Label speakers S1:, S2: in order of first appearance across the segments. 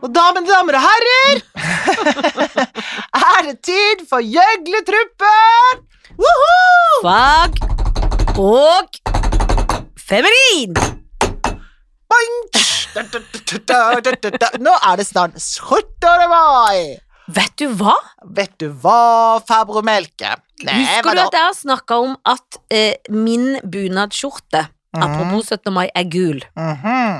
S1: Og da, mine damer og herrer, er det tid for gjøgletruppen! Woohoo!
S2: Fag og feminin!
S1: Boink! Da, da, da, da, da, da, da. Nå er det snart 17. mai!
S2: Vet du hva?
S1: Vet du hva, Fabromelke?
S2: Husker du at jeg har snakka om at eh, min bunadsskjorte,
S1: Mhm.
S2: apropos 17. mai, er gul?
S1: Mhm.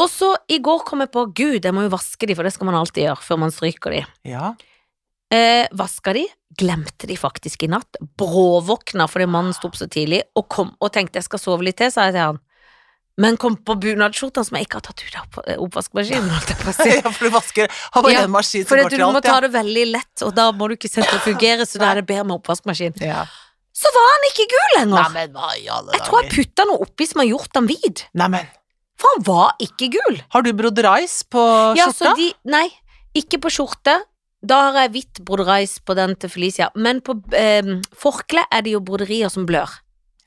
S2: Og så i går kom jeg på Gud, jeg må jo vaske de, for det skal man alltid gjøre før man stryker de.
S1: Ja.
S2: Eh, vaska de, glemte de faktisk i natt. Bråvåkna fordi mannen sto opp så tidlig, og kom og tenkte jeg skal sove litt til, sa jeg til han. Men kom på bunadsskjorta som jeg ikke har tatt ut av opp- eh, oppvaskmaskinen. holdt jeg på å si.
S1: ja, for du vasker Har bare
S2: Ja,
S1: en maskin som
S2: Fordi
S1: går
S2: at
S1: til
S2: du må
S1: alt,
S2: ta
S1: ja.
S2: det veldig lett, og da må du ikke sette det å fungere, så da er det bedre med oppvaskmaskin.
S1: ja.
S2: Så var han ikke gul
S1: Nei,
S2: lenger!
S1: men hva i alle
S2: Jeg tror jeg putta noe oppi som har gjort han hvit,
S1: Nei, men,
S2: for han var ikke gul.
S1: har du broderais på
S2: Ja, så
S1: skjorta?
S2: de, nei, ikke på skjorte. Da har jeg hvitt broderais på den til Felicia, men på eh, forkle er det jo broderier som blør.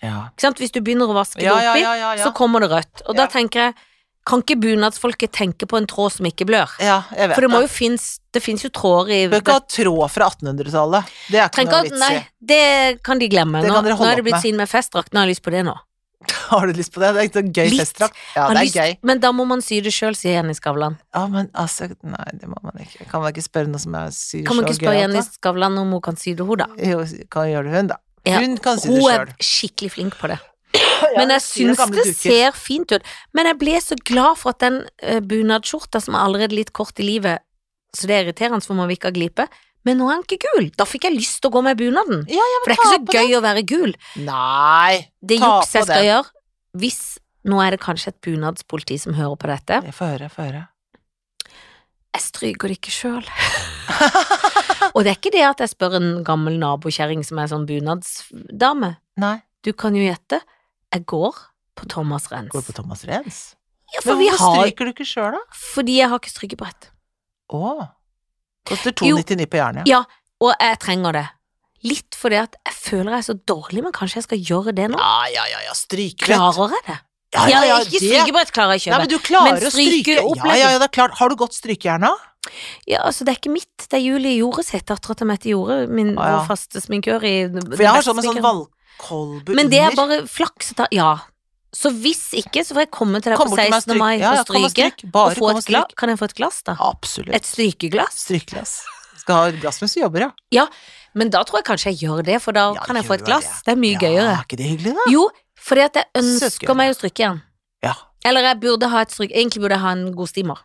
S1: Ja.
S2: Ikke sant? Hvis du begynner å vaske
S1: Ja,
S2: det
S1: ja,
S2: oppi,
S1: ja, ja, ja.
S2: så kommer det rødt. Og da
S1: Ja.
S2: tenker jeg, kan ikke bunadsfolket tenke på en tråd som ikke blør?
S1: ja, jeg vet
S2: For det må jo finnes, det finnes jo tråder i
S1: Du bør ikke ha tråd fra 1800-tallet. Det er ikke
S2: Trenger
S1: noe
S2: ikke at-
S1: vits i.
S2: Nei, det kan de glemme.
S1: Det
S2: Nå,
S1: kan dere
S2: nå
S1: holde
S2: er det
S1: opp med.
S2: blitt siden med festdrakt, nå har jeg lyst på det nå.
S1: Har du lyst på det? Det er ikke noe gøy
S2: Litt.
S1: festdrakt. Ja,
S2: Har
S1: det er
S2: lyst,
S1: gøy.
S2: Men da må man sy det sjøl, sier Jenny Skavlan.
S1: Ja, men altså, nei, det må man ikke. Kan man ikke spørre noe som er syr
S2: Kan man
S1: så altså.
S2: ikke spørre
S1: gøyalt,
S2: Jenny
S1: da?
S2: Skavlan om hun kan sy det, hun, da?
S1: Jo, kan gjøre det hun, da.
S2: Ja,
S1: Hun kan si det
S2: Hun
S1: sjøl.
S2: er skikkelig flink på det.
S1: Ja,
S2: Men jeg
S1: syr av
S2: syns
S1: gamle
S2: det
S1: duker.
S2: ser fint ut. Men jeg ble så glad for at den eh, bunadsskjorta som er allerede litt kort i livet, så det er irriterende for man vil ikke ha glipe, men nå er den ikke gul. Da fikk jeg lyst til å gå med bunaden.
S1: Ja, ja,
S2: For
S1: men
S2: det er
S1: ta
S2: ikke
S1: på
S2: så
S1: det.
S2: gøy å være gul.
S1: Nei!
S2: Det
S1: Ta
S2: jukset
S1: på
S2: jeg skal
S1: det.
S2: gjøre, hvis Nå er det kanskje et bunadspoliti som hører på dette.
S1: Jeg får høre, jeg får høre.
S2: Jeg stryker det ikke sjøl. Og det er ikke det at jeg spør en gammel nabokjerring som er sånn bunadsdame.
S1: Nei.
S2: Du kan jo gjette. Jeg går på Thomas Rens.
S1: Går du på Thomas Rens?
S2: Ja, for
S1: Men
S2: vi
S1: hvorfor
S2: har
S1: stryker du ikke sjøl, da?
S2: Fordi jeg har ikke strykebrett.
S1: Å. Koster
S2: Jo.
S1: 2,99 på jernet.
S2: Ja. Og jeg trenger det. Litt fordi at jeg føler jeg er så dårlig, men kanskje jeg skal gjøre det nå?
S1: Ja, ja, ja, ja. Strykebrett.
S2: Klarer jeg det? Ja, ikke strykebrett klarer jeg
S1: Nei,
S2: ikke
S1: men
S2: kjøpe.
S1: du klarer
S2: Men
S1: å stryke
S2: strykeopplegget.
S1: Ja, ja, ja, det er klart. Har du godt strykejern, da?
S2: Ja, altså, det er ikke mitt, det er Julie Jorde sitt, dattera til Mette Jorde,
S1: Å,
S2: min
S1: ja.
S2: vår faste sminkør i
S1: For jeg har sånn med sånn valkolbe under.
S2: Men det er bare flaks. da- Ja. Så hvis ikke, så får jeg komme til deg på
S1: Kommer til meg
S2: 16. mai
S1: Ja, ja,
S2: og
S1: kom og
S2: stryke.
S1: stryk. Bare
S2: Og få
S1: kom
S2: et
S1: og stryk.
S2: gla- kan jeg få et glass, da?
S1: Absolutt.
S2: Et strykeglass?
S1: Strykeglass. Skal ha Rasmus som jobber, ja.
S2: Men da tror jeg kanskje jeg gjør det, for da
S1: Ja,
S2: kan jeg få et
S1: gjør
S2: glass.
S1: det.
S2: Det er mye gøyere.
S1: Ja, er ikke det hyggelig, da?
S2: Jo, fordi at jeg ønsker
S1: Søskere.
S2: meg å stryke igjen.
S1: Ja.
S2: Eller jeg burde ha et stryk Egentlig burde jeg ha en god stimer.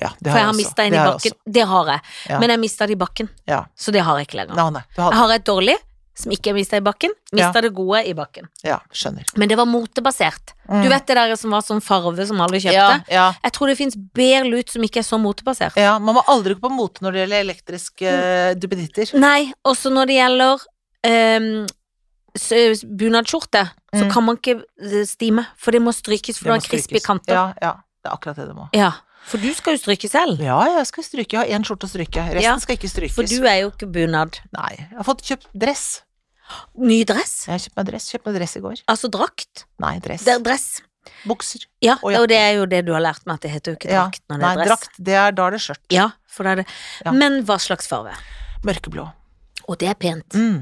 S1: ja det
S2: For
S1: har
S2: jeg har
S1: også.
S2: mista en
S1: Det
S2: i
S1: har jeg
S2: bakken. Det har jeg.
S1: Ja.
S2: Men jeg mista det i bakken.
S1: Ja.
S2: Så det har jeg ikke
S1: også.
S2: lenger.
S1: Nei, nei, du
S2: Jeg
S1: hadde
S2: har et dårlig som ikke er mista i bakken. Mista det gode i bakken.
S1: Ja, skjønner.
S2: Men det var motebasert. Du
S1: Mm.
S2: vet det der som var sånn farve som alle kjøpte?
S1: ja, ja.
S2: Jeg tror det fins bedre lut som ikke er så motebasert.
S1: ja, man må aldri gå på mote når det gjelder
S2: Mm.
S1: elektriske eh, duppeditter.
S2: Nei, også når det gjelder ehm, s- bunadsskjorte, så
S1: Mm.
S2: kan man ikke eh, stime, for det må strykes,
S1: Det
S2: for du
S1: må
S2: har crispy
S1: strykes.
S2: kanter.
S1: Ja, ja. Det er akkurat det det må.
S2: Ja, For du skal jo stryke selv,
S1: Ja, jeg skal stryke. Jeg har én skjorte å stryke. Resten
S2: Ja,
S1: skal ikke strykes.
S2: for du er jo ikke bunad.
S1: Nei. Jeg har fått kjøpt dress.
S2: Ny dress?
S1: Jeg har kjøpt meg dress. Kjøpt meg dress i går.
S2: Altså drakt?
S1: Nei, dress.
S2: Det er dress.
S1: Bukser.
S2: Ja,
S1: Og jakke.
S2: og det er jo det du har lært meg, at det heter jo ikke
S1: Ja,
S2: drakt når det
S1: Nei,
S2: er dress.
S1: drakt. Det er, da er det skjørt.
S2: Ja, for det er det.
S1: Ja.
S2: Men hva slags farve?
S1: Mørkeblå.
S2: Og det er pent.
S1: Mm.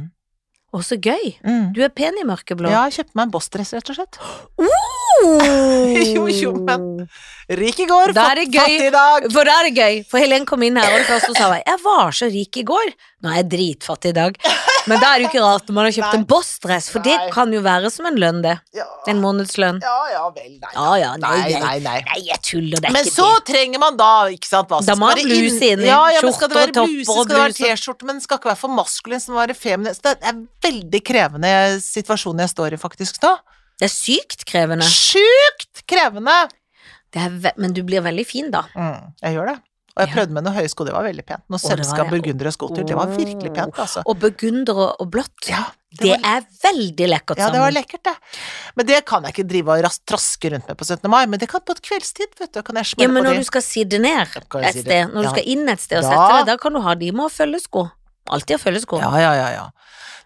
S2: Og så gøy.
S1: Mm.
S2: Du er pen i mørkeblå.
S1: Ja, jeg kjøpte meg en bossdress, rett og slett.
S2: Oh!
S1: Jo, jo, men- Rik i går,
S2: Da
S1: fatt-
S2: er det gøy.
S1: fattig i dag.
S2: For da er det gøy, for Helen kom inn her og det første hun sa var Jeg var så rik i går, nå er jeg dritfattig i dag. Men da er det jo ikke rart når man har kjøpt
S1: Nei.
S2: en Boss-dress, for det
S1: Nei.
S2: kan jo være som en lønn, det.
S1: Ja,
S2: En månedslønn.
S1: ja, ja vel, nei.
S2: Ja ja, nei,
S1: Nei,
S2: nei.
S1: nei, nei.
S2: Nei, jeg tuller, det er
S1: Men
S2: ikke
S1: så trenger man da, ikke sant hva,
S2: Da
S1: skal
S2: må man
S1: det
S2: ha bluse inni,
S1: Ja, ja, men skal det
S2: skjorte
S1: være
S2: og
S1: bluse,
S2: topper
S1: skal
S2: og
S1: det være
S2: bluse.
S1: T-skjorte, men den skal ikke være for maskulin, skal den være feminin. Så det er en veldig krevende situasjon jeg står i faktisk da.
S2: det. Det er sykt krevende.
S1: Sjukt krevende!
S2: Det er ve men du blir veldig fin, da.
S1: Mm, jeg gjør det. Og jeg
S2: Ja.
S1: prøvde med noen høye sko, det var veldig pent. Noen
S2: Å, det var
S1: sølvska
S2: det.
S1: burgundere sko til, det var virkelig pent, altså.
S2: Og burgunder og, og blått.
S1: Ja,
S2: Det
S1: var-
S2: er veldig lekkert
S1: Ja, det var
S2: sammen.
S1: lekkert, det. Men det kan jeg ikke drive og ras- traske rundt med på 17. mai, men det kan på et kveldstid, vet du. Kan jeg
S2: Ja,
S1: smelle
S2: men
S1: på
S2: når
S1: de.
S2: du skal sidde ned
S1: Ja, kan jeg
S2: et
S1: si det.
S2: sted, når du
S1: Ja.
S2: skal inn et sted og
S1: Da-
S2: sette deg, da kan du ha de med å følge sko. Alltid ha følgesko.
S1: Ja, ja, ja, ja.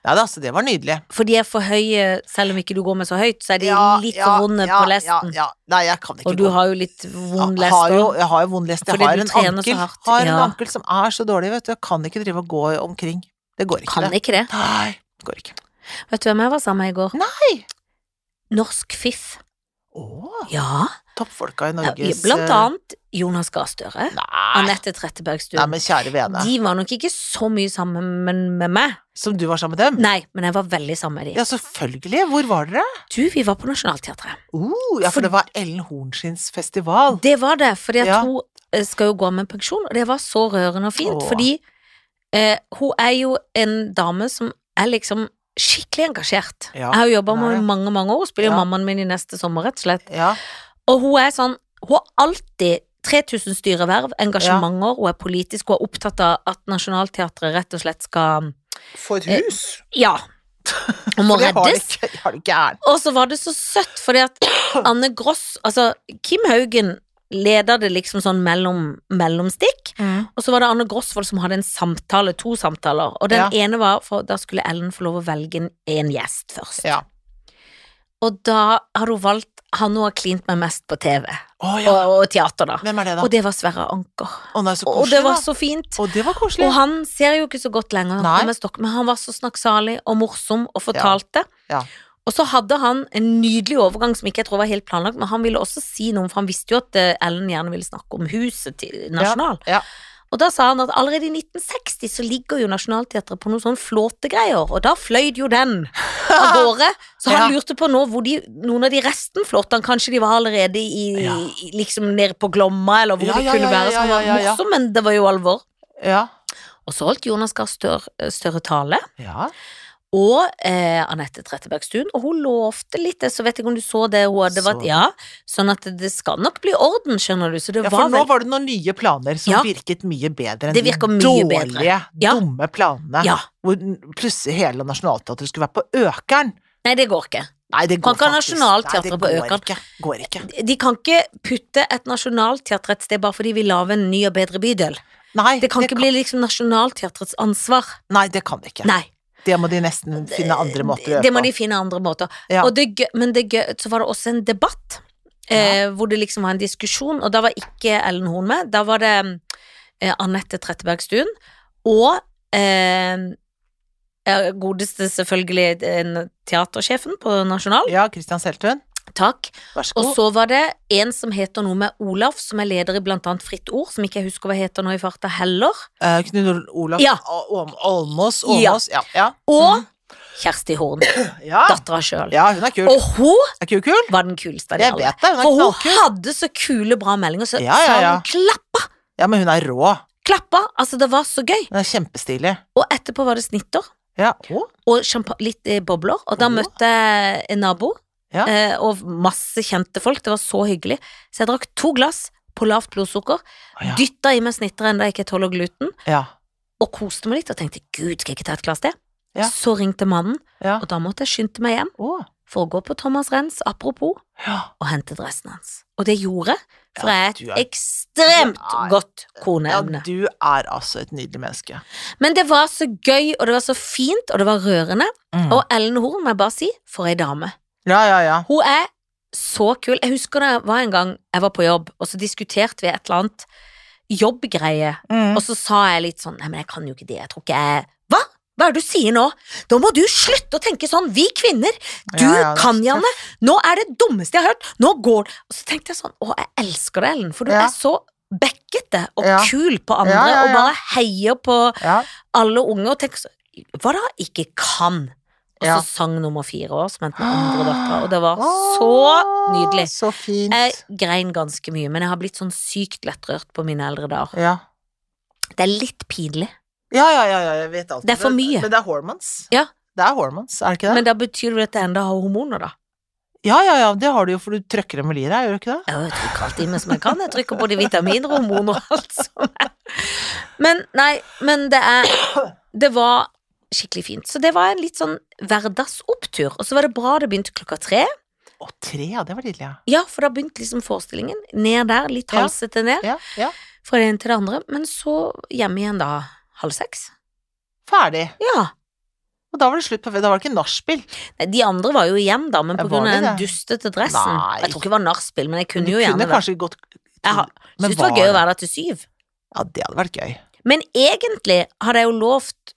S1: Ja da, så det var nydelig.
S2: For de er for høye, selv om ikke du går med så høyt, så er de
S1: Ja,
S2: litt
S1: ja,
S2: for vonde
S1: ja,
S2: på lesten.
S1: Ja, ja. Nei, jeg kan ikke
S2: Og du
S1: gå.
S2: har jo litt vond
S1: Jeg
S2: lest
S1: har jo,
S2: også.
S1: jeg har jo vond lest. Jeg
S2: Fordi
S1: har
S2: du
S1: en,
S2: trener så
S1: ankel,
S2: hardt,
S1: har en
S2: ja.
S1: ankel som er så dårlig, vet du. Jeg kan ikke drive og gå omkring. Det går ikke.
S2: Kan
S1: det.
S2: ikke det.
S1: Nei, det går ikke.
S2: Vet du hvem jeg var sammen med i går?
S1: Nei.
S2: Norsk Fiff.
S1: Å,
S2: Ja,
S1: toppfolka i
S2: ja,
S1: Norges
S2: blant
S1: eh,
S2: annet Jonas Gahr Støre.
S1: Nei.
S2: Anette
S1: Nei,
S2: Trettebergstuen.
S1: men kjære vene.
S2: De var nok ikke så mye sammen med- med meg.
S1: Som du var sammen med dem?
S2: Nei, men jeg var veldig sammen med de.
S1: Ja, selvfølgelig. Hvor var dere?
S2: Du, vi var på Nationaltheatret.
S1: Uh, ja,
S2: For-
S1: for det var Ellen Hornsins festival.
S2: Det var det, fordi at
S1: Ja.
S2: hun eh, skal jo gå av med pensjon, og det var så rørende og fint,
S1: Åh.
S2: fordi eh, hun er jo en dame som er liksom skikkelig engasjert.
S1: Ja,
S2: jeg har jo jobba
S1: hun er
S2: med
S1: det.
S2: henne i mange, mange år, spiller jo
S1: Ja.
S2: mammaen min i neste sommer, rett og slett.
S1: Ja,
S2: Og hun er sånn, hun har alltid 3000 styreverv, engasjementer, hun er politisk, hun er opptatt av at Nationaltheatret rett og slett skal
S1: For et
S2: Eh,
S1: hus!
S2: Ja, hun
S1: For
S2: må
S1: det har de
S2: reddes.
S1: ikke- de har det gærent.
S2: Og så var det så søtt, fordi at Anne Gross Altså, Kim Haugen leder det liksom sånn mellom, mellomstikk, og så var det Anne Grosvold som hadde en samtale, to samtaler, og den
S1: Ja.
S2: ene var for da skulle Ellen få lov å velge en, en gjest først.
S1: Ja.
S2: Og da har hun valgt han hun har klint med mest på TV,
S1: Å ja.
S2: og, og teater, da.
S1: Hvem er det, da?
S2: Og det var Sverre Anker.
S1: Å nei, så
S2: Og det
S1: koselig,
S2: var
S1: da.
S2: så fint.
S1: Å, det var koselig.
S2: Og han ser jo ikke så godt lenger,
S1: Nei.
S2: han med stokk, men han var så snakksalig og morsom og fortalte.
S1: Ja.
S2: Og så hadde han en nydelig overgang som ikke jeg tror var helt planlagt, men han ville også si noe, for han visste jo at eh, Ellen gjerne ville snakke om huset til Nasjonal.
S1: Ja, ja.
S2: Og da sa han at allerede i 1960 så ligger jo Nationaltheatret på noen sånne flåtegreier, og da fløy jo den av gårde. Så han
S1: Ja.
S2: lurte på nå hvor de, noen av de resten flåtene, kanskje de var allerede i,
S1: Ja.
S2: i- liksom nede på Glomma, eller hvor
S1: Ja,
S2: det
S1: ja, ja,
S2: kunne være. Så
S1: ja,
S2: han
S1: ja,
S2: var
S1: ja, ja.
S2: morsom, men det var jo alvor.
S1: Ja.
S2: Og så holdt Jonas Gahr Stør- Støre tale,
S1: ja.
S2: og eh, Anette Trettebergstuen, og hun lovte litt, det, så vet jeg ikke om du så det hun hadde
S1: Så
S2: vært
S1: det.
S2: Ja, sånn at det skal nok bli orden, skjønner du, så det
S1: Ja, for
S2: var
S1: nå
S2: vel
S1: var det noen nye planer som
S2: Ja.
S1: virket mye bedre enn
S2: Det
S1: de
S2: virker mye
S1: dårlige,
S2: bedre. Ja.
S1: dumme planene.
S2: Ja.
S1: Hvor n- plutselig hele Nationaltheatret skulle være på Økern.
S2: Nei, det går ikke.
S1: Nei, det
S2: Kan
S1: går
S2: ikke ha
S1: faktisk
S2: Nationaltheatret
S1: Nei, det
S2: på
S1: går
S2: Økern.
S1: Ikke. Går ikke.
S2: De kan ikke putte et nasjonalteater et sted bare fordi vi lager en ny og bedre bydel.
S1: Nei,
S2: Det kan ikke bli liksom nasjonalteatrets ansvar.
S1: Nei, det kan det ikke.
S2: Nei.
S1: Det må de nesten finne andre måter å
S2: Det må
S1: gjøre
S2: de
S1: på.
S2: finne andre måter.
S1: Ja.
S2: Og det, gø- men det gøy, så var det også en debatt, eh, hvor det liksom var en diskusjon, og da var ikke Ellen Horn med. Da var det eh, Anette Trettebergstuen og eh, eh, godeste, selvfølgelig, eh, teatersjefen på Nasjonal.
S1: Ja, Christian Seltun,
S2: Takk.
S1: vær så
S2: Og
S1: god.
S2: så var det en som heter noe med Olaf, som er leder i blant annet Fritt Ord, som ikke jeg husker hva heter nå i farta heller.
S1: Eh, Knut Olav
S2: Ja.
S1: Al- Al- Almås,
S2: Ja.
S1: Almås, ja. Ja.
S2: Og Kjersti Horn,
S1: Mm. ja.
S2: dattera sjøl.
S1: ja, hun er kul.
S2: Og hun
S1: Er ikke hun kul?
S2: var den kuleste av de
S1: Jeg
S2: alle.
S1: vet det, hun er
S2: For hun
S1: knallkul.
S2: hadde så kule, bra meldinger, så
S1: Ja, ja,
S2: sa
S1: ja.
S2: hun klappa,
S1: Ja, men hun er rå.
S2: klappa. Altså, det var så gøy.
S1: Hun er kjempestilig.
S2: Og etterpå var det snitter
S1: Ja, å,
S2: og champa- litt eh, bobler, og da
S1: Åh.
S2: møtte jeg en nabo
S1: Ja.
S2: eh, og masse kjente folk. Det var så hyggelig. Så jeg drakk to glass på lavt blodsukker,
S1: ja.
S2: dytta i meg snitteren da jeg ikke tåler gluten.
S1: ja.
S2: og koste meg litt og tenkte gud, skal jeg ikke ta et glass til?
S1: Ja.
S2: Så ringte mannen,
S1: Ja.
S2: og da måtte jeg skynde meg hjem
S1: Å,
S2: for å gå på Thomas Rens, apropos,
S1: ja.
S2: og hente dressen hans. Og det gjorde jeg, for jeg er
S1: du
S2: et
S1: er-
S2: ekstremt
S1: du er-
S2: godt
S1: Ja,
S2: koneevne.
S1: du er altså et nydelig menneske.
S2: Men det var så gøy, og det var så fint, og det var rørende. Og Ellen Horn, må jeg bare si, for ei dame.
S1: Mm. Ja, ja, ja.
S2: Hun er så kul. Jeg husker det var en gang jeg var på jobb, og så diskuterte vi et eller annet jobbgreie
S1: Mm.
S2: Og så sa jeg litt sånn Nei, men jeg kan jo ikke det. Jeg tror ikke jeg Hva? Hva er det du sier nå? Da må du slutte å tenke sånn. Vi kvinner, du
S1: Ja, ja, det er
S2: kan,
S1: så
S2: Janne. Nå er det dummeste jeg har hørt. Nå går Og så tenkte jeg sånn Å, jeg elsker deg, Ellen, for du
S1: Ja.
S2: er så bekkete og
S1: Ja.
S2: kul på andre,
S1: Ja, ja,
S2: og
S1: ja.
S2: bare heier på
S1: Ja.
S2: alle unge og tenker sånn Hva da? Ikke kan. Og så
S1: Ja. Ah,
S2: sang nummer fire år, som het den andre dattera, og det var så nydelig. Eh,
S1: Så fint.
S2: Jeg grein ganske mye, men jeg har blitt sånn sykt lettrørt på mine eldre dager.
S1: Ja.
S2: Det er litt pinlig.
S1: Ja, ja, ja, ja, jeg vet alt.
S2: Det er for mye.
S1: Men det er hormones.
S2: Ja.
S1: Det er hormones, er det ikke det?
S2: Men da betyr det vel at jeg enda har hormoner, da?
S1: ja, ja, ja, det har du jo, for du trøkker dem vel i deg, gjør du ikke det?
S2: Ja, Jeg trykker alt i meg som jeg kan. Jeg trykker både vitaminer og hormoner og alt som er. Men nei, men det er Det var skikkelig fint. Så det var en litt sånn hverdagsopptur. Og så var det bra det begynte klokka tre.
S1: Å, tre, ja, det var tidlig, ja.
S2: Ja, for da begynte liksom forestillingen. Ned der, litt
S1: Ja.
S2: halsete ned.
S1: Ja, ja.
S2: Fra det ene til det andre. Men så hjem igjen da halv seks.
S1: Ferdig.
S2: Ja.
S1: Og da var det slutt på Da var det ikke nachspiel.
S2: Nei, De andre var jo igjen, da, men
S1: Ja,
S2: på
S1: var
S2: grunn av
S1: de
S2: den
S1: det?
S2: dustete dressen.
S1: Nei.
S2: Jeg tror ikke det var nachspiel, men jeg kunne jo
S1: Du
S2: gjerne
S1: kunne
S2: vært
S1: kanskje gått
S2: Jeg har-
S1: Men
S2: Syns det var
S1: var
S2: gøy å
S1: det?
S2: være der til syv.
S1: Ja, det hadde vært gøy.
S2: Men egentlig hadde jeg jo lovt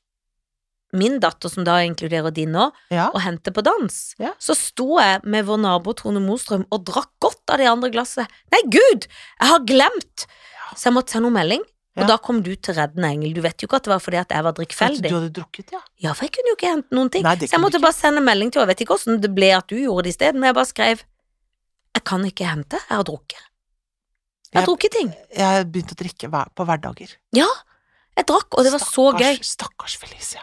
S2: min datter, som da inkluderer din nå,
S1: Ja.
S2: å hente på dans.
S1: Ja.
S2: Så sto jeg med vår nabo Trone Mostrøm og drakk godt av det andre glasset. Nei, gud, jeg har glemt! Så jeg måtte sende henne melding, og
S1: Ja.
S2: da kom du til reddende engel. Du vet jo ikke at det var fordi at jeg var
S1: Du
S2: drikkfeldig.
S1: hadde drukket, ja.
S2: Ja, for jeg kunne jo ikke hente noen ting.
S1: Nei, det
S2: så jeg
S1: kunne
S2: måtte
S1: du
S2: bare sende melding til henne. Jeg vet ikke hvordan det ble at du gjorde det i stedet, men jeg bare skrev Jeg kan ikke hente, jeg har drukket. Jeg har
S1: Jeg-
S2: drukket ting.
S1: Jeg begynte å drikke hver, på hverdager.
S2: Ja. Jeg drakk, og det var så
S1: Stakkars-
S2: gøy.
S1: Stakkars Felicia.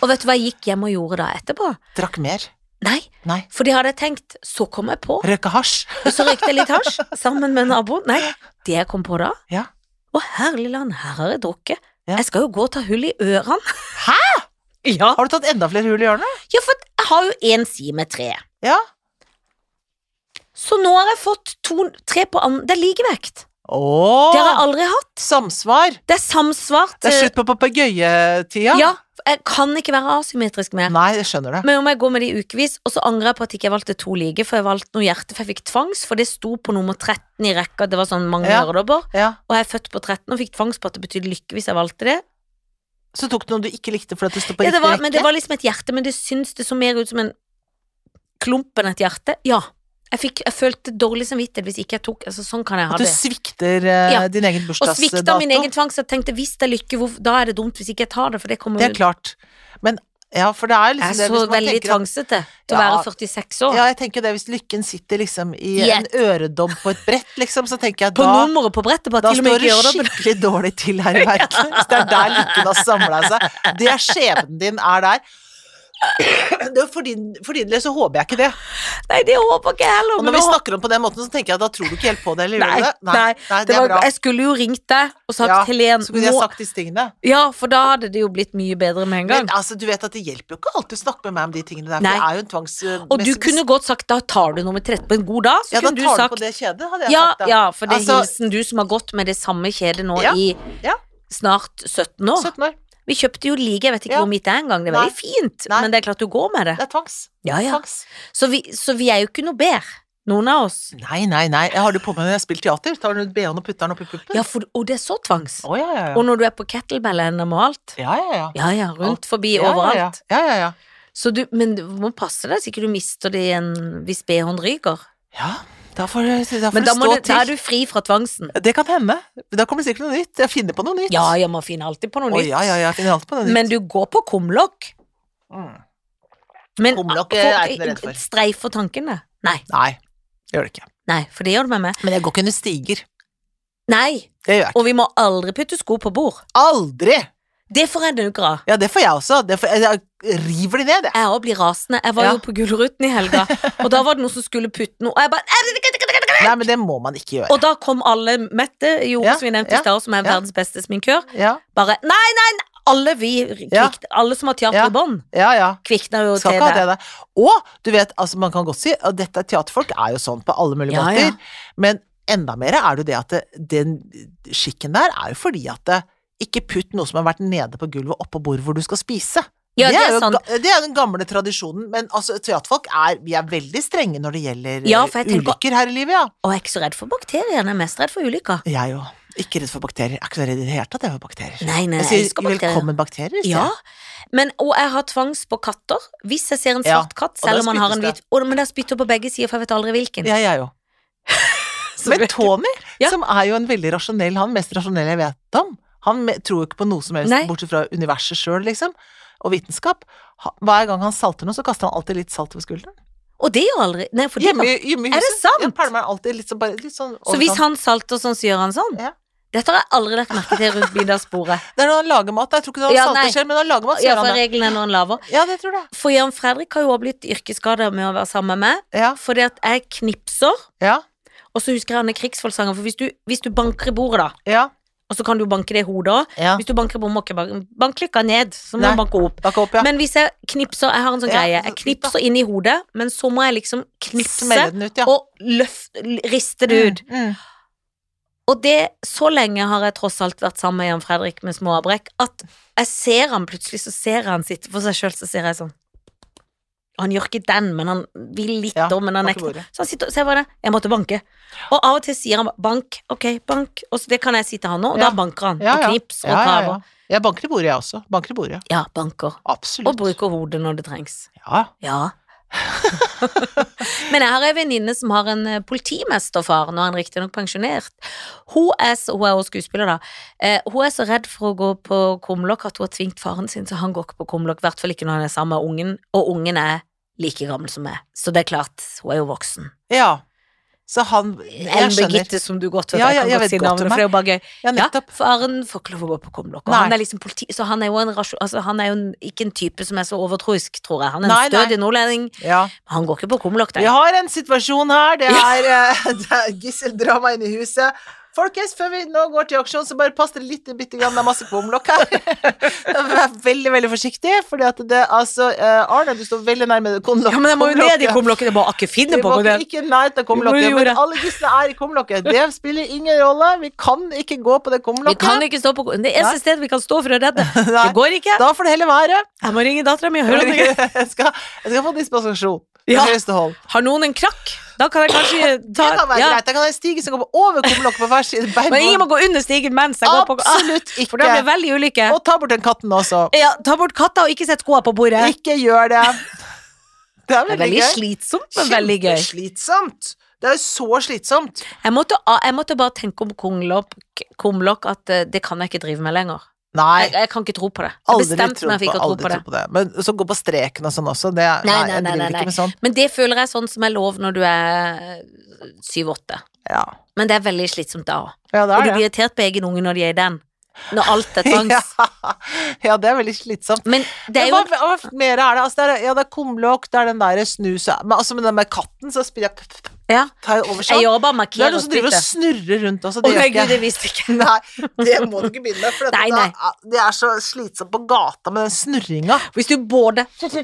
S2: Og vet du hva jeg gikk hjem og gjorde da etterpå?
S1: Drakk mer.
S2: Nei,
S1: Nei.
S2: for det hadde jeg tenkt. Så kom jeg på,
S1: Røyka hasj.
S2: og så røykte jeg litt hasj sammen med naboen. Nei, det jeg kom på da
S1: Ja.
S2: Å, herlig land, her har jeg drukket.
S1: Ja.
S2: Jeg skal jo gå og ta hull i ørene. Hæ?! Ja.
S1: Har du tatt enda flere hull i hjørnet?
S2: ja, for jeg har jo én side med tre.
S1: Ja.
S2: Så nå har jeg fått to, tre på an... Det er likevekt.
S1: Åh,
S2: Det har jeg aldri hatt.
S1: Samsvar.
S2: Det er samsvar
S1: Det
S2: til
S1: er slutt på papegøyetida.
S2: Ja, jeg kan ikke være asymmetrisk mer.
S1: Nei, jeg skjønner det.
S2: Men om jeg går med de ukevis, og så angrer jeg på at ikke jeg valgte to like, for jeg valgte noe hjerte, for jeg fikk tvangs, for det sto på nummer 13 i rekka, det var sånn mange
S1: Ja.
S2: øredobber,
S1: Ja.
S2: og jeg er født på 13 og fikk tvangs på at det betydde lykke hvis jeg valgte det.
S1: Så tok du noe du ikke likte fordi det stod på
S2: Ja, det
S1: riktig
S2: var,
S1: rekke?
S2: men det var liksom et hjerte, men det syns det så mer ut som en klump enn et hjerte. Ja. Jeg, fikk, jeg følte dårlig samvittighet hvis ikke jeg tok altså, Sånn kan jeg ha
S1: At du
S2: det.
S1: svikter eh,
S2: Ja.
S1: din egen
S2: Og
S1: bursdagsdato?
S2: svikta min egen tvang, så jeg tenkte hvis det er lykke, hvorfor- da er det dumt hvis ikke jeg tar det, for det kommer
S1: Det er klart. Men ja, for det er jo liksom
S2: Jeg er
S1: det
S2: så
S1: hvis man
S2: veldig
S1: tenker at-
S2: tvangsete
S1: Ja.
S2: til å være 46 år.
S1: Ja, jeg tenker det hvis lykken sitter liksom i
S2: I
S1: en øredobb på et brett, liksom, så tenker jeg
S2: På
S1: da
S2: nummeret på brettet, bare
S1: da
S2: til og med
S1: står
S2: ikke
S1: det
S2: gjør det.
S1: skikkelig dårlig til her i verden. Hvis det er der lykken har samla seg. Det er skjebnen din er der. Det er for, din, for din del så håper jeg ikke det.
S2: men- Nei, det håper ikke jeg heller.
S1: Og
S2: men
S1: når vi
S2: nå-
S1: snakker om på den måten, så tenker jeg at da tror du ikke helt på det, eller
S2: Nei,
S1: gjør du det?
S2: nei,
S1: nei,
S2: det
S1: det er
S2: var,
S1: bra.
S2: jeg skulle jo ringt deg og sagt
S1: Ja,
S2: Helen
S1: Så kunne jeg
S2: nå-
S1: sagt disse tingene.
S2: Ja, for da hadde det jo blitt mye bedre med en gang.
S1: Men altså, du vet at det hjelper jo ikke alltid å snakke med meg om de tingene der, for
S2: Nei.
S1: det er jo en tvangs...
S2: og du kunne godt sagt da tar du nummer 13 på en god dag, så
S1: Ja, da tar
S2: kunne du
S1: du
S2: sagt
S1: på det kjedet, hadde jeg
S2: ja,
S1: sagt da.
S2: ja, for det er
S1: Altså-
S2: hilsen du som har gått med det samme kjedet nå
S1: Ja,
S2: i
S1: ja.
S2: snart 17 år.
S1: 17 år.
S2: Vi kjøpte jo like, jeg vet ikke
S1: Ja.
S2: hvor mitt er engang, det er
S1: Nei.
S2: veldig fint,
S1: Nei.
S2: men det er klart du går med det.
S1: Det er tvangs.
S2: Ja, ja.
S1: tvangs.
S2: Så vi, så vi er jo ikke noe bedre, noen av oss.
S1: Nei, nei, nei. Jeg har det på meg når jeg spiller teater. Tar du BH-en og putter den opp i puppen?
S2: Ja, for, og det er så tvangs.
S1: Å, ja, ja, ja.
S2: Og når du er på kettlebell-NM og alt.
S1: Ja, ja, ja.
S2: Ja, ja, rundt forbi
S1: Ja,
S2: overalt.
S1: Ja, ja, ja. ja,
S2: Så du, men du må passe deg så ikke du mister det igjen hvis BH-en ryker.
S1: ja. ja da får det, da får
S2: Men
S1: det
S2: da, må
S1: stå
S2: det, da er
S1: til.
S2: du fri fra tvangsen.
S1: Det kan hende. Da kommer det sikkert noe nytt. Jeg finner på noe nytt.
S2: Ja, ja, man finner alltid på
S1: Å,
S2: noe nytt.
S1: ja, ja, ja. Jeg finner alltid på noe nytt.
S2: Men du går på kumlokk.
S1: Mm.
S2: Men
S1: Kumlokk, eh, er jeg ikke noe redd for.
S2: Streifer tankene? Nei,
S1: Nei, det gjør det ikke.
S2: nei, for det gjør det med meg.
S1: Men jeg går ikke under stiger.
S2: Nei,
S1: Det gjør jeg ikke.
S2: og vi må aldri putte sko på bord.
S1: Aldri!
S2: Det får jeg nugra av.
S1: Ja, det får jeg også. Det får, jeg, jeg river de ned, jeg.
S2: Jeg òg blir rasende. Jeg var
S1: Ja.
S2: jo på Gullruten i helga, og da var det noen som skulle putte noe, og jeg bare
S1: Nei, men det må man ikke gjøre.
S2: Og da kom alle Mette Jore,
S1: Ja,
S2: som vi nevnte i
S1: ja,
S2: stad, som
S1: ja.
S2: er verdens beste sminkør,
S1: Ja,
S2: bare Nei, nei, nei, alle vi kvikt,
S1: Ja.
S2: Alle som har teater
S1: Ja.
S2: i bånd,
S1: ja. ja.
S2: kvikner jo
S1: Skal
S2: til
S1: ikke ha det der.
S2: det.
S1: Og du vet, altså, man kan godt si at dette er teaterfolk er jo sånn på alle mulige
S2: Ja, ja.
S1: måter, men enda mer er det jo det at det, den skikken der er jo fordi at det, ikke putt noe som har vært nede på gulvet oppå bordet hvor du skal spise.
S2: Ja, det er
S1: jo
S2: sant.
S1: ga- det er jo den gamle tradisjonen, men altså, teaterfolk er, vi er veldig strenge når det gjelder
S2: Ja,
S1: eh,
S2: for jeg tenker-
S1: ulykker her i livet, ja.
S2: Og jeg er ikke så redd for bakteriene, jeg er mest redd for ulykka.
S1: Jeg jo. Ikke redd for bakterier. Jeg er ikke så redd i det hele tatt jeg for bakterier.
S2: Nei, nei,
S1: jeg
S2: jeg
S1: sier
S2: elsker bakterier.
S1: velkommen bakterier. sier
S2: Ja,
S1: jeg.
S2: men, og jeg har tvangs på katter. Hvis jeg ser en
S1: Ja,
S2: svart katt,
S1: og da
S2: selv om man har en
S1: spyttes
S2: hvit Å, Men det er spytter på begge sider, for jeg vet aldri hvilken.
S1: Ja, jeg jo.
S2: Så
S1: Men
S2: vet-
S1: Tony,
S2: Ja.
S1: som er jo en veldig rasjonell, han mest rasjonelle jeg vet om, han me- tror jo ikke på noe som helst,
S2: Nei.
S1: bortsett fra universet sjøl, liksom, og vitenskap. Ha- Hver gang han salter noe, så kaster han alltid litt salt over skulderen.
S2: Og det gjør aldri Nei, for det
S1: Hjemme, hjemme i
S2: Er det
S1: huset.
S2: sant?
S1: Ja, pælmer han alltid litt sånn, bare litt sånn
S2: Så
S1: over
S2: hvis
S1: sånn.
S2: han salter sånn, så gjør han sånn?
S1: Ja.
S2: Dette har jeg aldri lagt merke til rundt middagsbordet.
S1: Det er når han lager mat, da. jeg tror ikke han
S2: Ja, nei.
S1: salter selv, men når han lager mat, så
S2: Ja,
S1: gjør
S2: for
S1: han det.
S2: regelen er når han laver.
S1: Ja, det tror jeg.
S2: For Jan Fredrik har jo også blitt yrkesskada med å være sammen med meg.
S1: Ja,
S2: Fordi at jeg knipser,
S1: ja,
S2: og så husker jeg Anne Krigsvold-sangen. For hvis du, hvis du banker i bordet, da,
S1: ja.
S2: og så kan du banke det i hodet òg
S1: ja.
S2: Hvis du banker i bordet, må ikke banke, bank lykka ned, så må
S1: Nei.
S2: du banke opp.
S1: Bakke opp, ja.
S2: Men hvis jeg knipser Jeg har en sånn
S1: Ja,
S2: greie.
S1: så-
S2: Jeg knipser inn i hodet, men så må jeg liksom knipse
S1: Smelle den ut, ja.
S2: og løft, riste det ut.
S1: Mm, mm.
S2: Og det, så lenge har jeg tross alt vært sammen med Jan Fredrik med små avbrekk, at jeg ser han plutselig, så ser jeg han sitte for seg sjøl, så ser jeg sånn Han gjør ikke den, men han vil litt
S1: Ja,
S2: om, men han
S1: har ikke
S2: nekter.
S1: vært.
S2: Så han sitter og ser bare det. Jeg måtte banke. Og av og til sier han bare, bank, ok, bank. Og så det kan jeg si til han nå, og
S1: Ja.
S2: da banker han.
S1: Ja, ja.
S2: Og knips og
S1: Ja, ja,
S2: kraver.
S1: ja. Jeg banker i bordet, jeg også. Banker i bordet.
S2: Ja, banker.
S1: Absolutt.
S2: Og bruker hodet når det trengs.
S1: Ja.
S2: Ja. Men jeg har ei venninne som har en eh, politimesterfar, nå er han riktignok pensjonert. Hun er, så, hun er også skuespiller, da. Eh, hun er så redd for å gå på kumlokk at hun har tvingt faren sin, så han går ikke på kumlokk. I hvert fall ikke når han er sammen med ungen, og ungen er like gammel som meg. Så det er klart, hun er jo voksen.
S1: ja. Så han Jeg
S2: Ellen
S1: skjønner.
S2: Birgitte, som du godt vet,
S1: Ja, ja, jeg
S2: jeg kan
S1: vet
S2: godt si
S1: godt om
S2: navnet, for det er jo bare gøy.
S1: Ja,
S2: Ja,
S1: nettopp.
S2: faren får ikke lov å gå på kumlokk, og
S1: Nei.
S2: han er liksom politi, så han er jo en rasjon... Altså, han er jo en, ikke en type som er så overtroisk, tror jeg. Han er
S1: Nei,
S2: en
S1: nei.
S2: stødig nordlending.
S1: Ja.
S2: Han går ikke på kumlokk,
S1: Vi
S2: nei.
S1: har en situasjon her. Det er, eh, det er gisseldrama inne i huset. Folkens, før vi nå går til auksjon, så bare pass dere litt bitte grann. Det er masse kumlokk her. Vær veldig, veldig forsiktig, fordi at det altså eh, Arne, du står veldig nærme kumlokket.
S2: Ja, men jeg må jo ned i kumlokket, det er bare ikke finne
S1: Vi
S2: på
S1: var
S2: det.
S1: ikke i nærheten av kumlokket,
S2: Jo, jo,
S1: men
S2: det.
S1: alle gislene er i kumlokket. Det spiller ingen rolle. Vi kan ikke gå på det
S2: Vi kan
S1: kumlokket.
S2: ikke stå på Det eneste stedet vi kan stå for å redde.
S1: Nei.
S2: Det går ikke.
S1: Da får det heller være.
S2: Jeg må ringe dattera mi og høre om det.
S1: Jeg skal, jeg skal få dispensasjon.
S2: Ja.
S1: Fra høyeste hold.
S2: Har noen en krakk? Da kan jeg kanskje
S1: Det
S2: ta
S1: kan være
S2: ja.
S1: greit. Da kan jeg stige som går på over kumlokket på hver side. Bein
S2: Men ingen må
S1: på-
S2: gå under stigen mens jeg går på ah,
S1: Absolutt
S2: For da blir det
S1: ikke.
S2: veldig ulykke.
S1: Og ta bort den katten også.
S2: Ja, ta bort katta og ikke sett skoa på bordet.
S1: Ikke gjør det. Det er
S2: Det er
S1: veldig
S2: veldig
S1: gøy.
S2: slitsomt, men veldig gøy.
S1: Kjempeslitsomt. Det er jo så slitsomt.
S2: Jeg måtte, ah, jeg måtte bare tenke om kumlokk kumlokk at eh, det kan jeg ikke drive med lenger. Jeg,
S1: Nei,
S2: jeg kan ikke tro på det. Jeg
S1: aldri
S2: bestemte
S1: tro
S2: meg for
S1: på,
S2: ikke å tro
S1: aldri
S2: på det.
S1: tro på det. Men så gå på streken og sånn også. Det, nei,
S2: Nei, nei,
S1: jeg
S2: nei,
S1: driver
S2: nei,
S1: ikke med sånn.
S2: Men det føler jeg er sånn som er lov når du er syv-åtte.
S1: Ja.
S2: Men det er veldig slitsomt da òg.
S1: ja, det
S2: Og
S1: er
S2: du
S1: det.
S2: blir sånn irritert på egen unge når de er i den. Når alt er tvangs.
S1: ja, det er veldig slitsomt.
S2: Men det er jo
S1: Men hva, hva mer er det? Altså, det er, ja, det er kumlokk, det er den der snusa Men altså, med den med katten, så spiller jeg p- p-
S2: ja,
S1: tar jeg over
S2: Jeg
S1: sånn.
S2: gjør bare
S1: Det er
S2: markerer
S1: noen som driver og snurrer rundt også.
S2: Å
S1: Det
S2: nei,
S1: gjør
S2: gud,
S1: ikke
S2: det
S1: jeg.
S2: visste ikke jeg.
S1: Nei, det må du ikke begynne med, for
S2: Nei,
S1: dette
S2: nei.
S1: da- det er så slitsomt på gata med den snurringa.
S2: Hvis du både og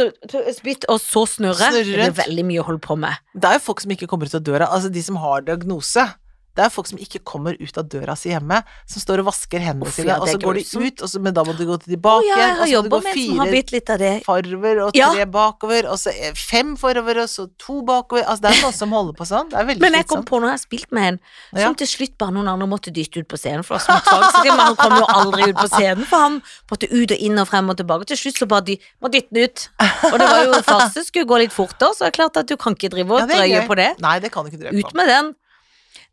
S2: så spytt, og så snurre,
S1: Snurre
S2: det er
S1: rundt.
S2: veldig mye å holde på med.
S1: Det er jo folk som ikke kommer ut av døra, altså de som har diagnose. Det er folk som ikke kommer ut av døra si hjemme, som står og vasker hendene
S2: Uff,
S1: sine,
S2: ja,
S1: og
S2: det
S1: så
S2: er
S1: går de
S2: grusomt.
S1: ut, og så, men da må du gå
S2: Å
S1: tilbake
S2: ja, jeg
S1: igjen, og
S2: har
S1: så må du
S2: jobba
S1: gå
S2: med en sånn som har
S1: fire
S2: bitt litt av det.
S1: farver, Eh, og
S2: Ja.
S1: tre bakover, og så er fem forover, og så to bakover. Altså det er noen som holder på sånn. Det er veldig
S2: Men jeg kom
S1: slitsomt.
S2: på når jeg har spilt med en, som
S1: Ja.
S2: til slutt bare noen andre måtte dytte ut på scenen. For det var som et tvangsrim, men han kom jo aldri ut på scenen, for han måtte ut og inn og frem og tilbake. Til slutt så bare de må dytte den ut. Og det var jo farse, skulle gå litt fortere, så det er klart at du kan ikke
S1: Ja,
S2: drive og
S1: det er
S2: drøye
S1: gøy.
S2: på det.
S1: Nei, det kan du ikke drøye
S2: Ut
S1: på.
S2: med den.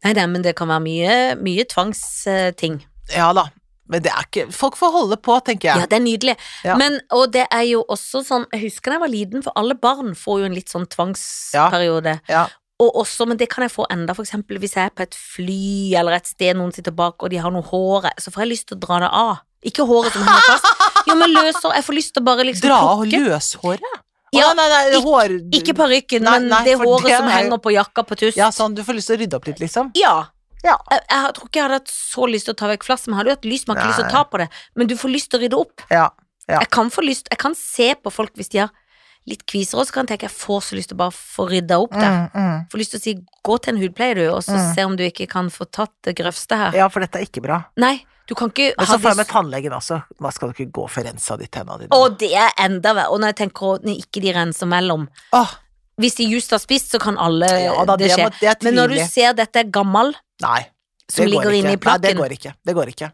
S2: Nei, nei, men det kan være mye, mye tvangsting.
S1: Ja da. Men det er ikke Folk får holde på, tenker
S2: Ja,
S1: jeg.
S2: det er nydelig.
S1: Ja.
S2: Men, og det er jo også sånn, jeg husker da jeg var liten, for alle barn får jo en litt sånn tvangsperiode.
S1: Ja.
S2: Og også, men det kan jeg få enda, for eksempel hvis jeg er på et fly eller et sted noen sitter bak og de har noe hår, så får jeg lyst til å dra det av. Ikke håret som henger fast. Jo, men løser, jeg får lyst til å bare liksom
S1: Dra av
S2: plukke.
S1: løshåret? Å,
S2: Ja,
S1: nei, nei,
S2: ikke-
S1: hår
S2: Ikke parykken,
S1: Nei,
S2: men
S1: nei,
S2: det
S1: for
S2: håret
S1: det
S2: som
S1: er jo-
S2: henger på jakka på tuss.
S1: Ja, sånn, du får lyst til å rydde opp litt, liksom?
S2: Ja.
S1: Ja.
S2: Jeg, jeg tror ikke jeg hadde hatt så lyst til å ta vekk flass, men jeg hadde jo hatt lyst, man har ikke lyst til å ta på det, men du får lyst til å rydde opp.
S1: Ja. Ja.
S2: Jeg kan få lyst, jeg kan se på folk hvis de har litt kviser, og så kan jeg tenke jeg får så lyst til å bare få rydda opp der.
S1: Mm, mm.
S2: Får lyst til å si gå til en hudpleier du, og så
S1: Mm.
S2: se om du ikke kan få tatt det grøvste her.
S1: ja, for dette er ikke bra.
S2: Nei, du kan ikke
S1: Men
S2: ha
S1: så får
S2: det
S1: jeg med
S2: så-
S1: tannlegen også. Da skal du ikke gå for rensa de tenna dine.
S2: Og det er enda verre. Og når jeg tenker at ikke de renser mellom
S1: Åh,
S2: Hvis de just har spist, så kan alle
S1: ja, da,
S2: eh, det
S1: det,
S2: skje.
S1: må, det er
S2: Men når du
S1: tvillig.
S2: ser dette er gammel,
S1: Nei,
S2: som ligger
S1: ikke.
S2: inne i
S1: Nei, det
S2: plakken,
S1: går ikke. Det går ikke.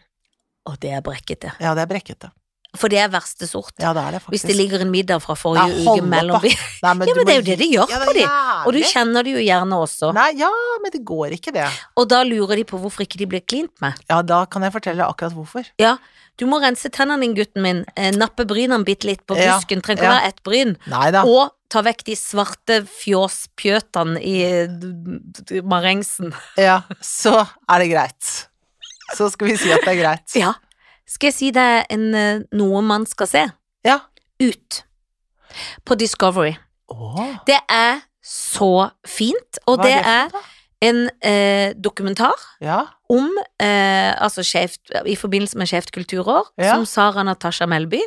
S2: og det er brekkete.
S1: Ja, det er brekkete.
S2: For det er verste sort.
S1: Ja, det er det,
S2: Hvis
S1: faktisk.
S2: det ligger en middag fra forrige
S1: Ja, hold
S2: uke
S1: opp,
S2: mellom
S1: da. Nei, men
S2: Ja,
S1: du må
S2: men det er jo det de
S1: gi-
S2: gjør
S1: Ja,
S2: for
S1: det er
S2: Og du
S1: jævlig.
S2: kjenner det jo gjerne også.
S1: Nei, ja, men det går ikke, det.
S2: Og da lurer de på hvorfor ikke de blir klint med.
S1: Ja, da kan jeg fortelle akkurat hvorfor.
S2: Du må rense tennene dine, gutten min. Eh, Nappe brynene bitte litt på
S1: Ja,
S2: busken. Trenger ikke
S1: ja.
S2: være ett bryn.
S1: Nei da.
S2: Og ta vekk de svarte fjåspjøtene i d- d- marengsen.
S1: Ja, så er det greit. Så skal vi si at det er greit.
S2: Ja. Skal jeg si deg en, eh, noe man skal se?
S1: Ja.
S2: Ut. På Discovery.
S1: Åh,
S2: Det er så fint, og
S1: hva
S2: det,
S1: for
S2: er
S1: noe da?
S2: en eh, dokumentar
S1: Ja,
S2: om eh, altså skjevt, i forbindelse med skjevt kulturår,
S1: Ja.
S2: som Sara Natasha Melby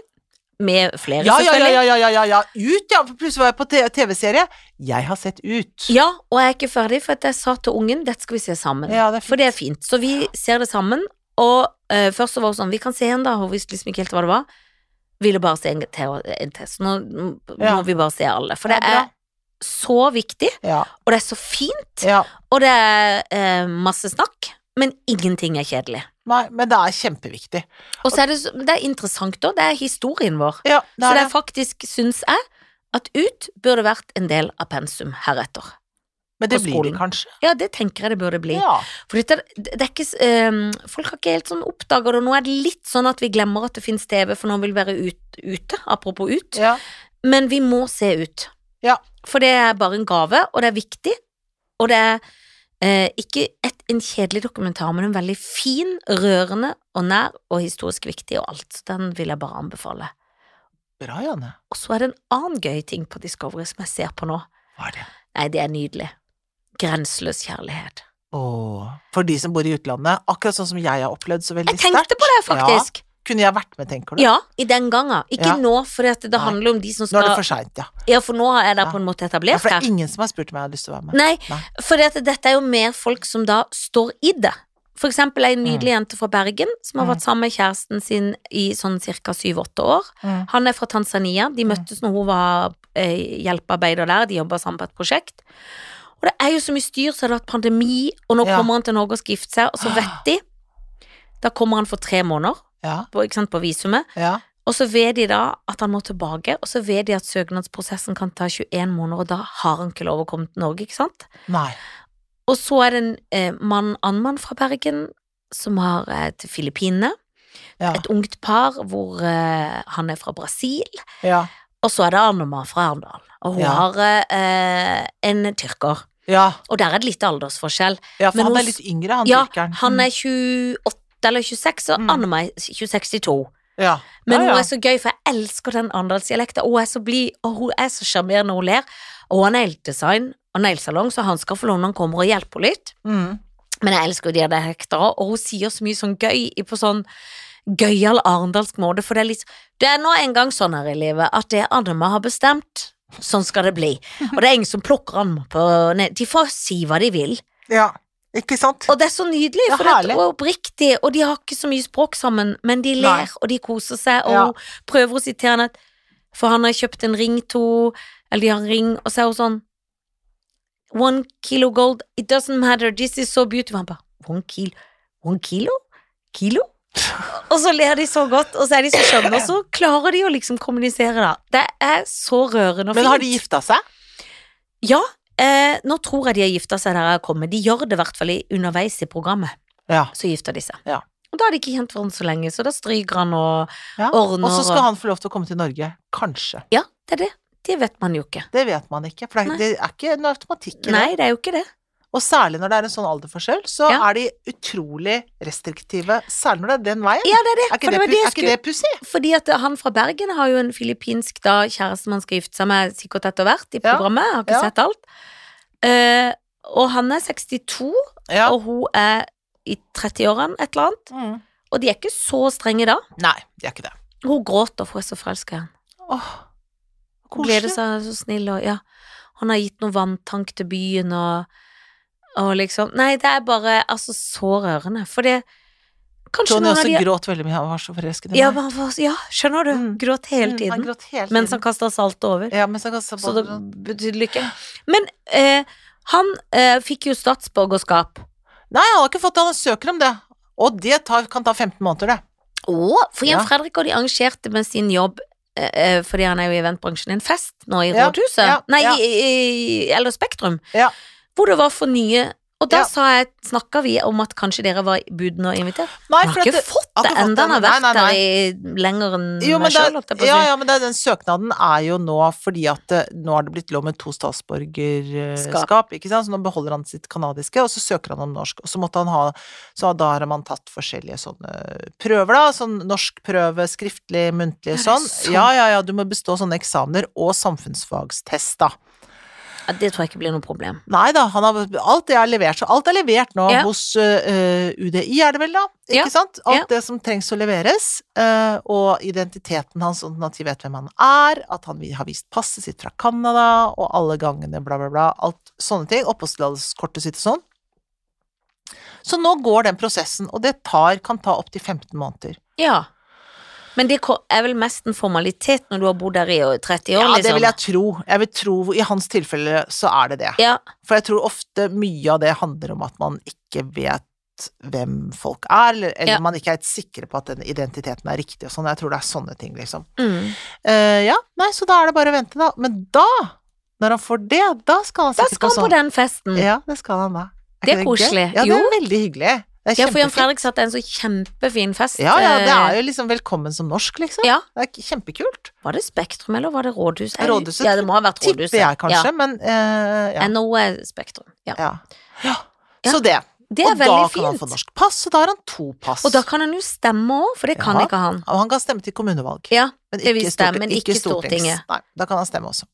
S2: med flere,
S1: Ja, ja, ja,
S2: selvfølgelig.
S1: ja, ja, ja, ja, ja. Ut, ja. Plutselig var jeg på te- TV-serie. Jeg har sett ut.
S2: Ja, og jeg er ikke ferdig, for at jeg sa til ungen dette skal vi se sammen.
S1: Ja, det er
S2: For det er fint. Så vi ser det sammen, og eh, først så var hun sånn Vi kan se en, da. Hun visste liksom ikke helt hva det var. Ville bare se en til. En til. Så nå nå
S1: Ja.
S2: må vi bare se alle. For det
S1: Ja, bra.
S2: er så viktig,
S1: Ja,
S2: og det er så fint,
S1: ja.
S2: og det er eh, masse snakk, men ingenting er kjedelig.
S1: Nei, men det er kjempeviktig.
S2: Og så er det, så- det er interessant, da. Det er historien vår.
S1: Ja, det
S2: Så
S1: er
S2: det
S1: det.
S2: er faktisk, syns jeg, at ut burde vært en del av pensum heretter.
S1: Men det
S2: på
S1: blir det
S2: skolen.
S1: kanskje.
S2: Ja, det tenker jeg det burde bli.
S1: Ja.
S2: For dette, det det er ikke, s- ehm, folk har ikke helt sånn oppdaget det, og nå er det litt sånn at vi glemmer at det finnes TV, for noen vil være ut, ute, apropos ut.
S1: ja.
S2: Men vi må se ut.
S1: Ja.
S2: For det er bare en gave, og det er viktig, og det er eh, ikke et, en kjedelig dokumentar, men en veldig fin, rørende og nær og historisk viktig og alt. Så den vil jeg bare anbefale.
S1: Bra, Janne.
S2: Og så er det en annen gøy ting på Discovery som jeg ser på nå.
S1: Hva er det?
S2: Nei, det er nydelig. Grenseløs kjærlighet.
S1: Åh. For de som bor i utlandet, akkurat sånn som jeg har opplevd så veldig
S2: Jeg tenkte
S1: sterkt.
S2: på det, faktisk.
S1: Kunne jeg vært med, tenker du?
S2: Ja, i den gangen. Ikke
S1: Ja.
S2: nå, for det, det
S1: Nei.
S2: handler om de som
S1: Nå
S2: skal
S1: er det for seint, ja.
S2: Ja, for nå er det
S1: Ja.
S2: på en måte
S1: ja.
S2: etablert
S1: For det
S2: her.
S1: er ingen som har spurt om jeg har lyst til å være med.
S2: Nei,
S1: Nei.
S2: for det, dette er jo mer folk som da står i det. For eksempel ei nydelig jente fra Bergen som har
S1: Mm.
S2: vært sammen med kjæresten sin i sånn ca. syv-åtte år.
S1: Mm.
S2: Han er fra Tanzania. De møttes når hun var eh, hjelpearbeider der. De jobba sammen på et prosjekt. Og det er jo så mye styr, så har det vært pandemi, og nå
S1: Ja. Ah.
S2: kommer han til Norge og skal gifte seg, og så vet de Da kommer han for tre måneder
S1: Ja,
S2: på, ikke sant, på visumet,
S1: ja.
S2: og så vet de da at han må tilbake, og så vet de at søknadsprosessen kan ta 21 måneder, og da har han ikke lov å komme til Norge, ikke sant?
S1: Nei.
S2: Og så er det en eh, mann, annen mann fra Bergen som har eh, til Filippinene.
S1: Ja.
S2: Et ungt par hvor eh, han er fra Brasil.
S1: ja.
S2: Og så er det Arnema fra Arendal. Og hun
S1: Ja.
S2: har eh, en tyrker.
S1: Ja,
S2: Og der er det litt aldersforskjell.
S1: ja for
S2: Men
S1: han
S2: hos-
S1: er litt yngre, han
S2: ja,
S1: tyrkeren.
S2: Han
S1: Mm.
S2: er 28 eller 26, og
S1: Mm.
S2: Arnema er 26-62.
S1: ja.
S2: Men
S1: ja, ja.
S2: hun er så gøy, for jeg elsker den arendalsdialekta. Og Hun er så blid, og hun er så sjarmerende når hun ler. Og hun har negledesign og neglesalong, så han skal få lov når han kommer og hjelper litt.
S1: mm.
S2: Men jeg elsker jo dialekter også, og hun sier så mye sånn gøy i- på sånn gøyal arendalsk måte, for det er litt Det er nå en gang sånn her i livet at det Anne-Ma har bestemt, sånn skal det bli. Og det er ingen som plukker an på nei, De får si hva de vil.
S1: ja. Ikke sant?
S2: Og det er så nydelig,
S1: Ja,
S2: for det
S1: herlig.
S2: er oppriktig, og de har ikke så mye språk sammen, men de
S1: Nei.
S2: ler, og de koser seg, og
S1: Ja.
S2: hun prøver å sitere henne, for han har kjøpt en ring to, eller de har en ring, og så er hun sånn, one kilo gold, it doesn't matter, this is so beautiful. Han bare, one kilo, one kilo? Kilo? og så ler de så godt, og så er de så skjønne, og så klarer de å liksom kommunisere da. Det er så rørende og fint.
S1: Men har de gifta seg?
S2: Ja, eh, nå tror jeg de har gifta seg der jeg kommer. De gjør det i hvert fall i- underveis i programmet
S1: Ja.
S2: så gifter de seg.
S1: Ja.
S2: Og da har de ikke kjent hverandre så lenge, så da stryker han og
S1: ja.
S2: ordner
S1: Og så skal
S2: og-
S1: han få lov til å komme til Norge. Kanskje.
S2: Ja, det er det. Det vet man jo ikke.
S1: Det vet man ikke, for det
S2: Nei.
S1: er, det er ikke noe automatikk i det.
S2: Nei, det er jo ikke det.
S1: Og særlig når det er en sånn alderforskjell, så
S2: Ja.
S1: er de utrolig restriktive. Særlig når det er den veien.
S2: Ja, det er det.
S1: Er
S2: for
S1: ikke det,
S2: var
S1: pu-
S2: jeg
S1: er ikke det pussig?
S2: skulle- Fordi at han fra Bergen har jo en filippinsk da, kjæreste man skal gifte seg med sikkert etter hvert i
S1: Ja.
S2: programmet. Jeg har
S1: Ja.
S2: ikke sett alt. Eh, og han er 62,
S1: Ja.
S2: og hun er i 30-årene, et eller annet.
S1: Mm.
S2: Og de er ikke så strenge da.
S1: Nei, det er ikke det.
S2: Hun gråter, for hun er så forelska i han.
S1: Åh,
S2: Hun gleder
S1: koselig.
S2: seg så snill, og ja, han har gitt noen vanntank til byen, og, og liksom Nei, det er bare altså så rørende, for det Kanskje
S1: Tony
S2: noen av
S1: også
S2: de
S1: gråt veldig mye, han var så forelsket i
S2: ja,
S1: meg.
S2: men han var- ja, skjønner du?
S1: Mm.
S2: Gråt hele
S1: Mm, Han
S2: tiden.
S1: gråt hele tiden.
S2: Mens han kasta salt over.
S1: Ja, sånn. mens han kastet
S2: Så det
S1: ballen.
S2: betydde lykke. Men eh, han eh, fikk jo statsborgerskap.
S1: Nei, han har ikke fått det, han søker om det. Og det tar, kan ta 15 måneder, det.
S2: Å, for Jan
S1: Ja.
S2: Fredrik og de arrangerte med sin jobb eh, eh, fordi han er jo i eventbransjen, en fest nå i
S1: Ja,
S2: Rådhuset.
S1: ja,
S2: Nei,
S1: ja.
S2: I, i, eller Spektrum.
S1: Ja.
S2: Hvor det var for nye. Og
S1: Ja.
S2: da sa jeg, snakka vi om at kanskje dere var budene og invitert.
S1: Nei,
S2: Han har
S1: for at
S2: ikke
S1: det-
S2: fått
S1: har
S2: det
S1: ikke fått
S2: enda, han har
S1: det.
S2: vært
S1: Nei, nei,
S2: der i lenger enn
S1: Jo, men
S2: meg sjøl, holdt
S1: det,
S2: jeg på å
S1: ja,
S2: si.
S1: ja, men det, den søknaden er jo nå fordi at eh, nå har det blitt lov med to statsborgerskap, ikke sant, så nå beholder han sitt kanadiske, og så søker han om norsk, og så måtte han ha, så da har man tatt forskjellige sånne prøver da, sånn norskprøve, skriftlig, muntlig,
S2: det
S1: sånn.
S2: sant?
S1: Ja, ja, ja, du må bestå sånne eksamener og samfunnsfagstest da.
S2: Ja, det tror jeg ikke blir noe problem.
S1: Nei da, han har, alt det er levert. Så alt er levert nå
S2: Ja.
S1: hos ø, ø, UDI, er det vel da? Ikke
S2: Ja,
S1: sant? Alt
S2: ja.
S1: det som trengs å leveres, ø, og identiteten hans, sånn at de vet hvem han er, at han har vist passet sitt fra Canada, og alle gangene, bla, bla, bla. Alt sånne ting. Oppholdstillatelseskortet sitt og sånn. Så nå går den prosessen, og det tar, kan ta opptil 15 måneder.
S2: Ja. Men det ko- er vel mest en formalitet når du har bodd der i ø, 30 år,
S1: Ja, det
S2: liksom?
S1: vil jeg tro. Jeg vil tro, I hans tilfelle så er det det.
S2: Ja,
S1: For jeg tror ofte mye av det handler om at man ikke vet hvem folk er, eller, eller
S2: Ja.
S1: man ikke er helt sikre på at den identiteten er riktig og sånn. Jeg tror det er sånne ting, liksom.
S2: mm.
S1: Eh, ja, nei, så da er det bare å vente, da. Men da, når han får det, da skal han
S2: Da
S1: sikkert sånn.
S2: skal han på den festen.
S1: Ja, det skal han da.
S2: Det er
S1: ikke gøy?
S2: koselig.
S1: Ja, det
S2: Jo.
S1: er veldig hyggelig. Det er
S2: Ja, for Jan
S1: kjempefint.
S2: Fredrik satte en så kjempefin fest.
S1: Ja, ja, det er jo
S2: eh,
S1: liksom velkommen som norsk, liksom.
S2: Ja.
S1: Det er kjempekult.
S2: Var det Spektrum, eller var det Rådhuset? Jeg-
S1: Rådhuset,
S2: Ja, det må ha vært Rådhuset.
S1: Tipper jeg kanskje, men eh,
S2: Ja.
S1: ja.
S2: NOE Spektrum. Ja.
S1: ja. ja.
S2: Ja.
S1: Så det.
S2: Det er
S1: og da
S2: veldig
S1: kan han få
S2: fint.
S1: norsk pass, og da har han to pass.
S2: Og da kan han jo stemme òg, for det kan
S1: Ja.
S2: ikke han.
S1: Og han kan stemme til kommunevalg.
S2: Ja,
S1: Men
S2: Det
S1: ikke,
S2: visste jeg,
S1: storting-
S2: men
S1: ikke
S2: ikke
S1: stortings.
S2: Stortinget.
S1: Nei, da kan han stemme også.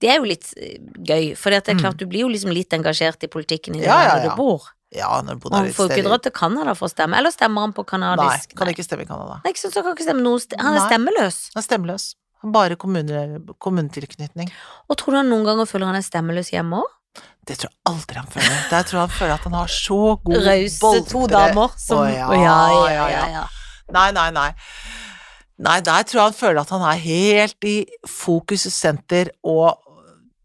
S2: Det er jo litt eh, gøy, for det er
S1: Mm.
S2: klart du blir jo liksom litt engasjert i politikken i det
S1: Ja, ja,
S2: landet
S1: ja.
S2: du bor.
S1: Ja, når du bodde her
S2: Og han
S1: litt
S2: får jo
S1: steder.
S2: ikke dra til Canada for å stemme. Eller stemmer han på
S1: Nei,
S2: kanadisk?
S1: kan ikke stemme i Canada.
S2: Nei, ikke sant, så han kan ikke stemme noe sted. Han er
S1: Nei.
S2: stemmeløs.
S1: Han er stemmeløs. Han har Bare kommune, kommunetilknytning.
S2: Og tror du han noen ganger føler han er stemmeløs hjemme òg?
S1: Det tror jeg aldri han føler. Det tror jeg han føler at han har så god
S2: Rause to
S1: boltre-
S2: damer som
S1: Oh, Å, ja,
S2: Å, ja, ja,
S1: ja, ja.
S2: ja, ja.
S1: Nei, nei, nei. Nei, der tror jeg han føler at han er helt i fokus senter og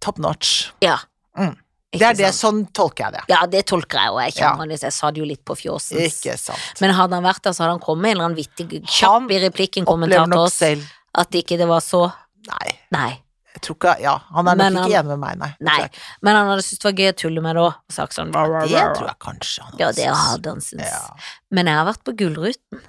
S1: top notch.
S2: Ja.
S1: Mm. Det
S2: Ikke
S1: er det,
S2: sant?
S1: sånn tolker jeg det.
S2: Ja, det tolker jeg, og jeg
S1: Ja.
S2: kjenner han jo, så jeg sa det jo litt på fjåsens.
S1: Ikke sant.
S2: Men hadde han vært der, så hadde han kommet med en eller annen vittig
S1: Han
S2: kjapp i replikken
S1: Opplever
S2: kommentar til
S1: nok
S2: oss
S1: selv.
S2: at ikke det var så
S1: Nei,
S2: Nei.
S1: jeg tror ikke Ja, han er nok
S2: Men
S1: ikke
S2: han-
S1: enig med meg, nei. Det
S2: Nei.
S1: tror jeg ikke.
S2: Men han hadde syntes det var gøy å tulle med det òg, og sagt sånn
S1: Det tror jeg kanskje han
S2: Ja, det
S1: synes.
S2: hadde han syntes.
S1: Ja.
S2: Men jeg har vært på Gullruten.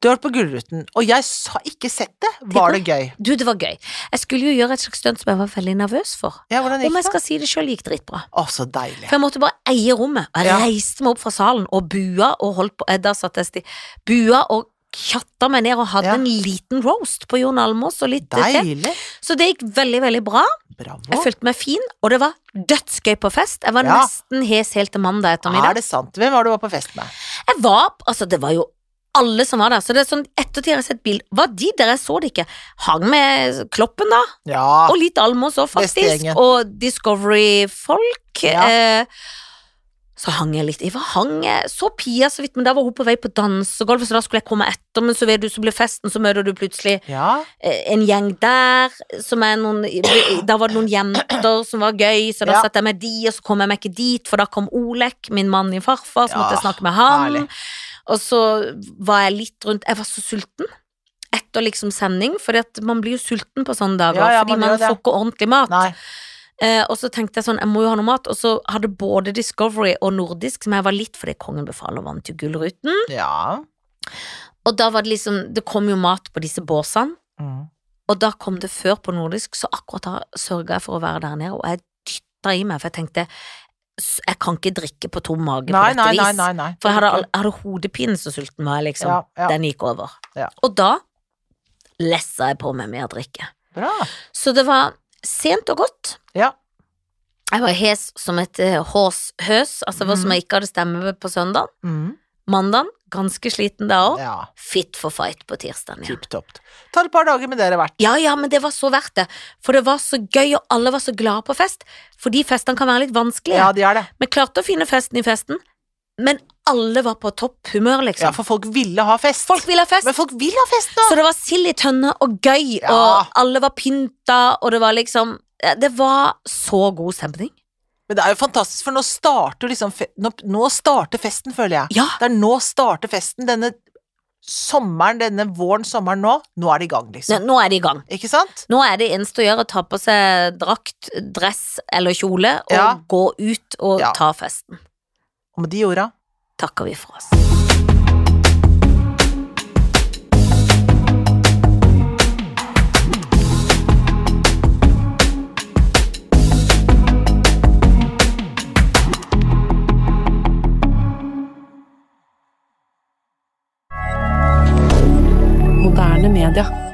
S1: Du har vært på Gullruten, og jeg s- har ikke sett det. Var det gøy?
S2: Du, det var gøy. Jeg skulle jo gjøre et slags stunt som jeg var veldig nervøs for.
S1: Ja, hvordan
S2: Om
S1: gikk
S2: jeg
S1: det?
S2: skal si det sjøl, gikk det dritbra.
S1: Å, så deilig.
S2: For jeg måtte bare eie rommet. Og jeg
S1: Ja.
S2: reiste meg opp fra salen og bua og holdt på eh, Da satt jeg sti. Bua og kjatta meg ned og hadde
S1: Ja.
S2: en liten roast på Jon Almaas og litt til.
S1: Deilig.
S2: Så det gikk veldig, veldig bra. Jeg
S1: Bravo.
S2: følte meg fin, og det var dødsgøy på fest. Jeg var
S1: Ja.
S2: nesten hes helt til mandag
S1: Er
S2: ettermiddag.
S1: det sant? Hvem var det du var på fest med?
S2: Jeg var, altså det var jo alle som var der, så det er sånn ettertid har jeg sett bild. Var de der? Jeg så det ikke. Hang med Kloppen da,
S1: Ja.
S2: og litt Almås også faktisk,
S1: Bestegjengen.
S2: og Discovery-folk.
S1: Ja.
S2: Eh, så hang jeg litt, jeg var hang jeg, så Pia så vidt, men da var hun på vei på dansegolvet, så da skulle jeg komme etter, men så vet du, så ble festen, så møter du plutselig
S1: Ja.
S2: eh, en gjeng der som er noen Da var det noen jenter som var gøy, så da
S1: Ja.
S2: satte jeg med de, og så kom jeg meg ikke dit, for da kom Olek, min mann i farfar, så måtte
S1: Ja,
S2: jeg snakke med han.
S1: herlig.
S2: Og så var jeg litt rundt Jeg var så sulten etter liksom sending, for man blir jo sulten på sånne dager,
S1: Ja, ja,
S2: fordi
S1: man
S2: man
S1: gjør det.
S2: får ikke ordentlig mat.
S1: Nei.
S2: Eh, og så tenkte jeg sånn, jeg må jo ha noe mat, og så hadde både Discovery og Nordisk, som jeg var litt fordi kongen befaler vann til Gullruten,
S1: Ja.
S2: og da var det liksom Det kom jo mat på disse båsene.
S1: Mm.
S2: Og da kom det før på nordisk, så akkurat da sørga jeg for å være der nede, og jeg dytta i meg, for jeg tenkte "S- jeg kan ikke drikke på tom mage
S1: Nei,
S2: på dette
S1: nei, nei,
S2: vis.
S1: nei, nei.
S2: For jeg hadde, all- jeg hadde hodepine så sulten var jeg, liksom.
S1: Ja, ja.
S2: Den gikk over.
S1: Ja.
S2: Og da lessa jeg på meg mer drikke.
S1: Bra.
S2: Så det var sent og godt.
S1: Ja.
S2: Jeg var hes som et eh, hås høs, altså det var
S1: Mhm.
S2: som jeg ikke hadde stemme på søndag.
S1: Mm.
S2: Mandag, ganske sliten da òg.
S1: Ja.
S2: Fit for fight på tirsdagen igjen.
S1: Tipp topp. Tar et par dager med dere hvert.
S2: Ja, ja, men det var så verdt det. For det var så gøy, og alle var så glade på fest. Fordi festene kan være litt vanskelige.
S1: Ja, de er det.
S2: Vi klarte å finne festen i festen, men alle var på topp humør,
S1: Ja,
S2: liksom.
S1: for folk ville ha fest.
S2: Folk ville ha fest,
S1: Men folk vil ha fest nå!
S2: så det var sild i tønne og gøy,
S1: Ja.
S2: og alle var pynta, og det var liksom ja, Det var så god stemning.
S1: Men det er jo fantastisk, for nå starter liksom fe nå, nå starter festen, føler jeg.
S2: Ja.
S1: Det er nå starter festen. Denne sommeren, denne våren, sommeren nå. Nå er det i gang,
S2: Nå,
S1: liksom.
S2: nå er det i gang.
S1: Ikke sant?
S2: Nå er det eneste å gjøre å ta på seg drakt, dress eller kjole og
S1: Ja.
S2: gå ut og
S1: Ja.
S2: ta festen.
S1: Og med de orda
S2: Takker vi for oss.
S3: Moderne media.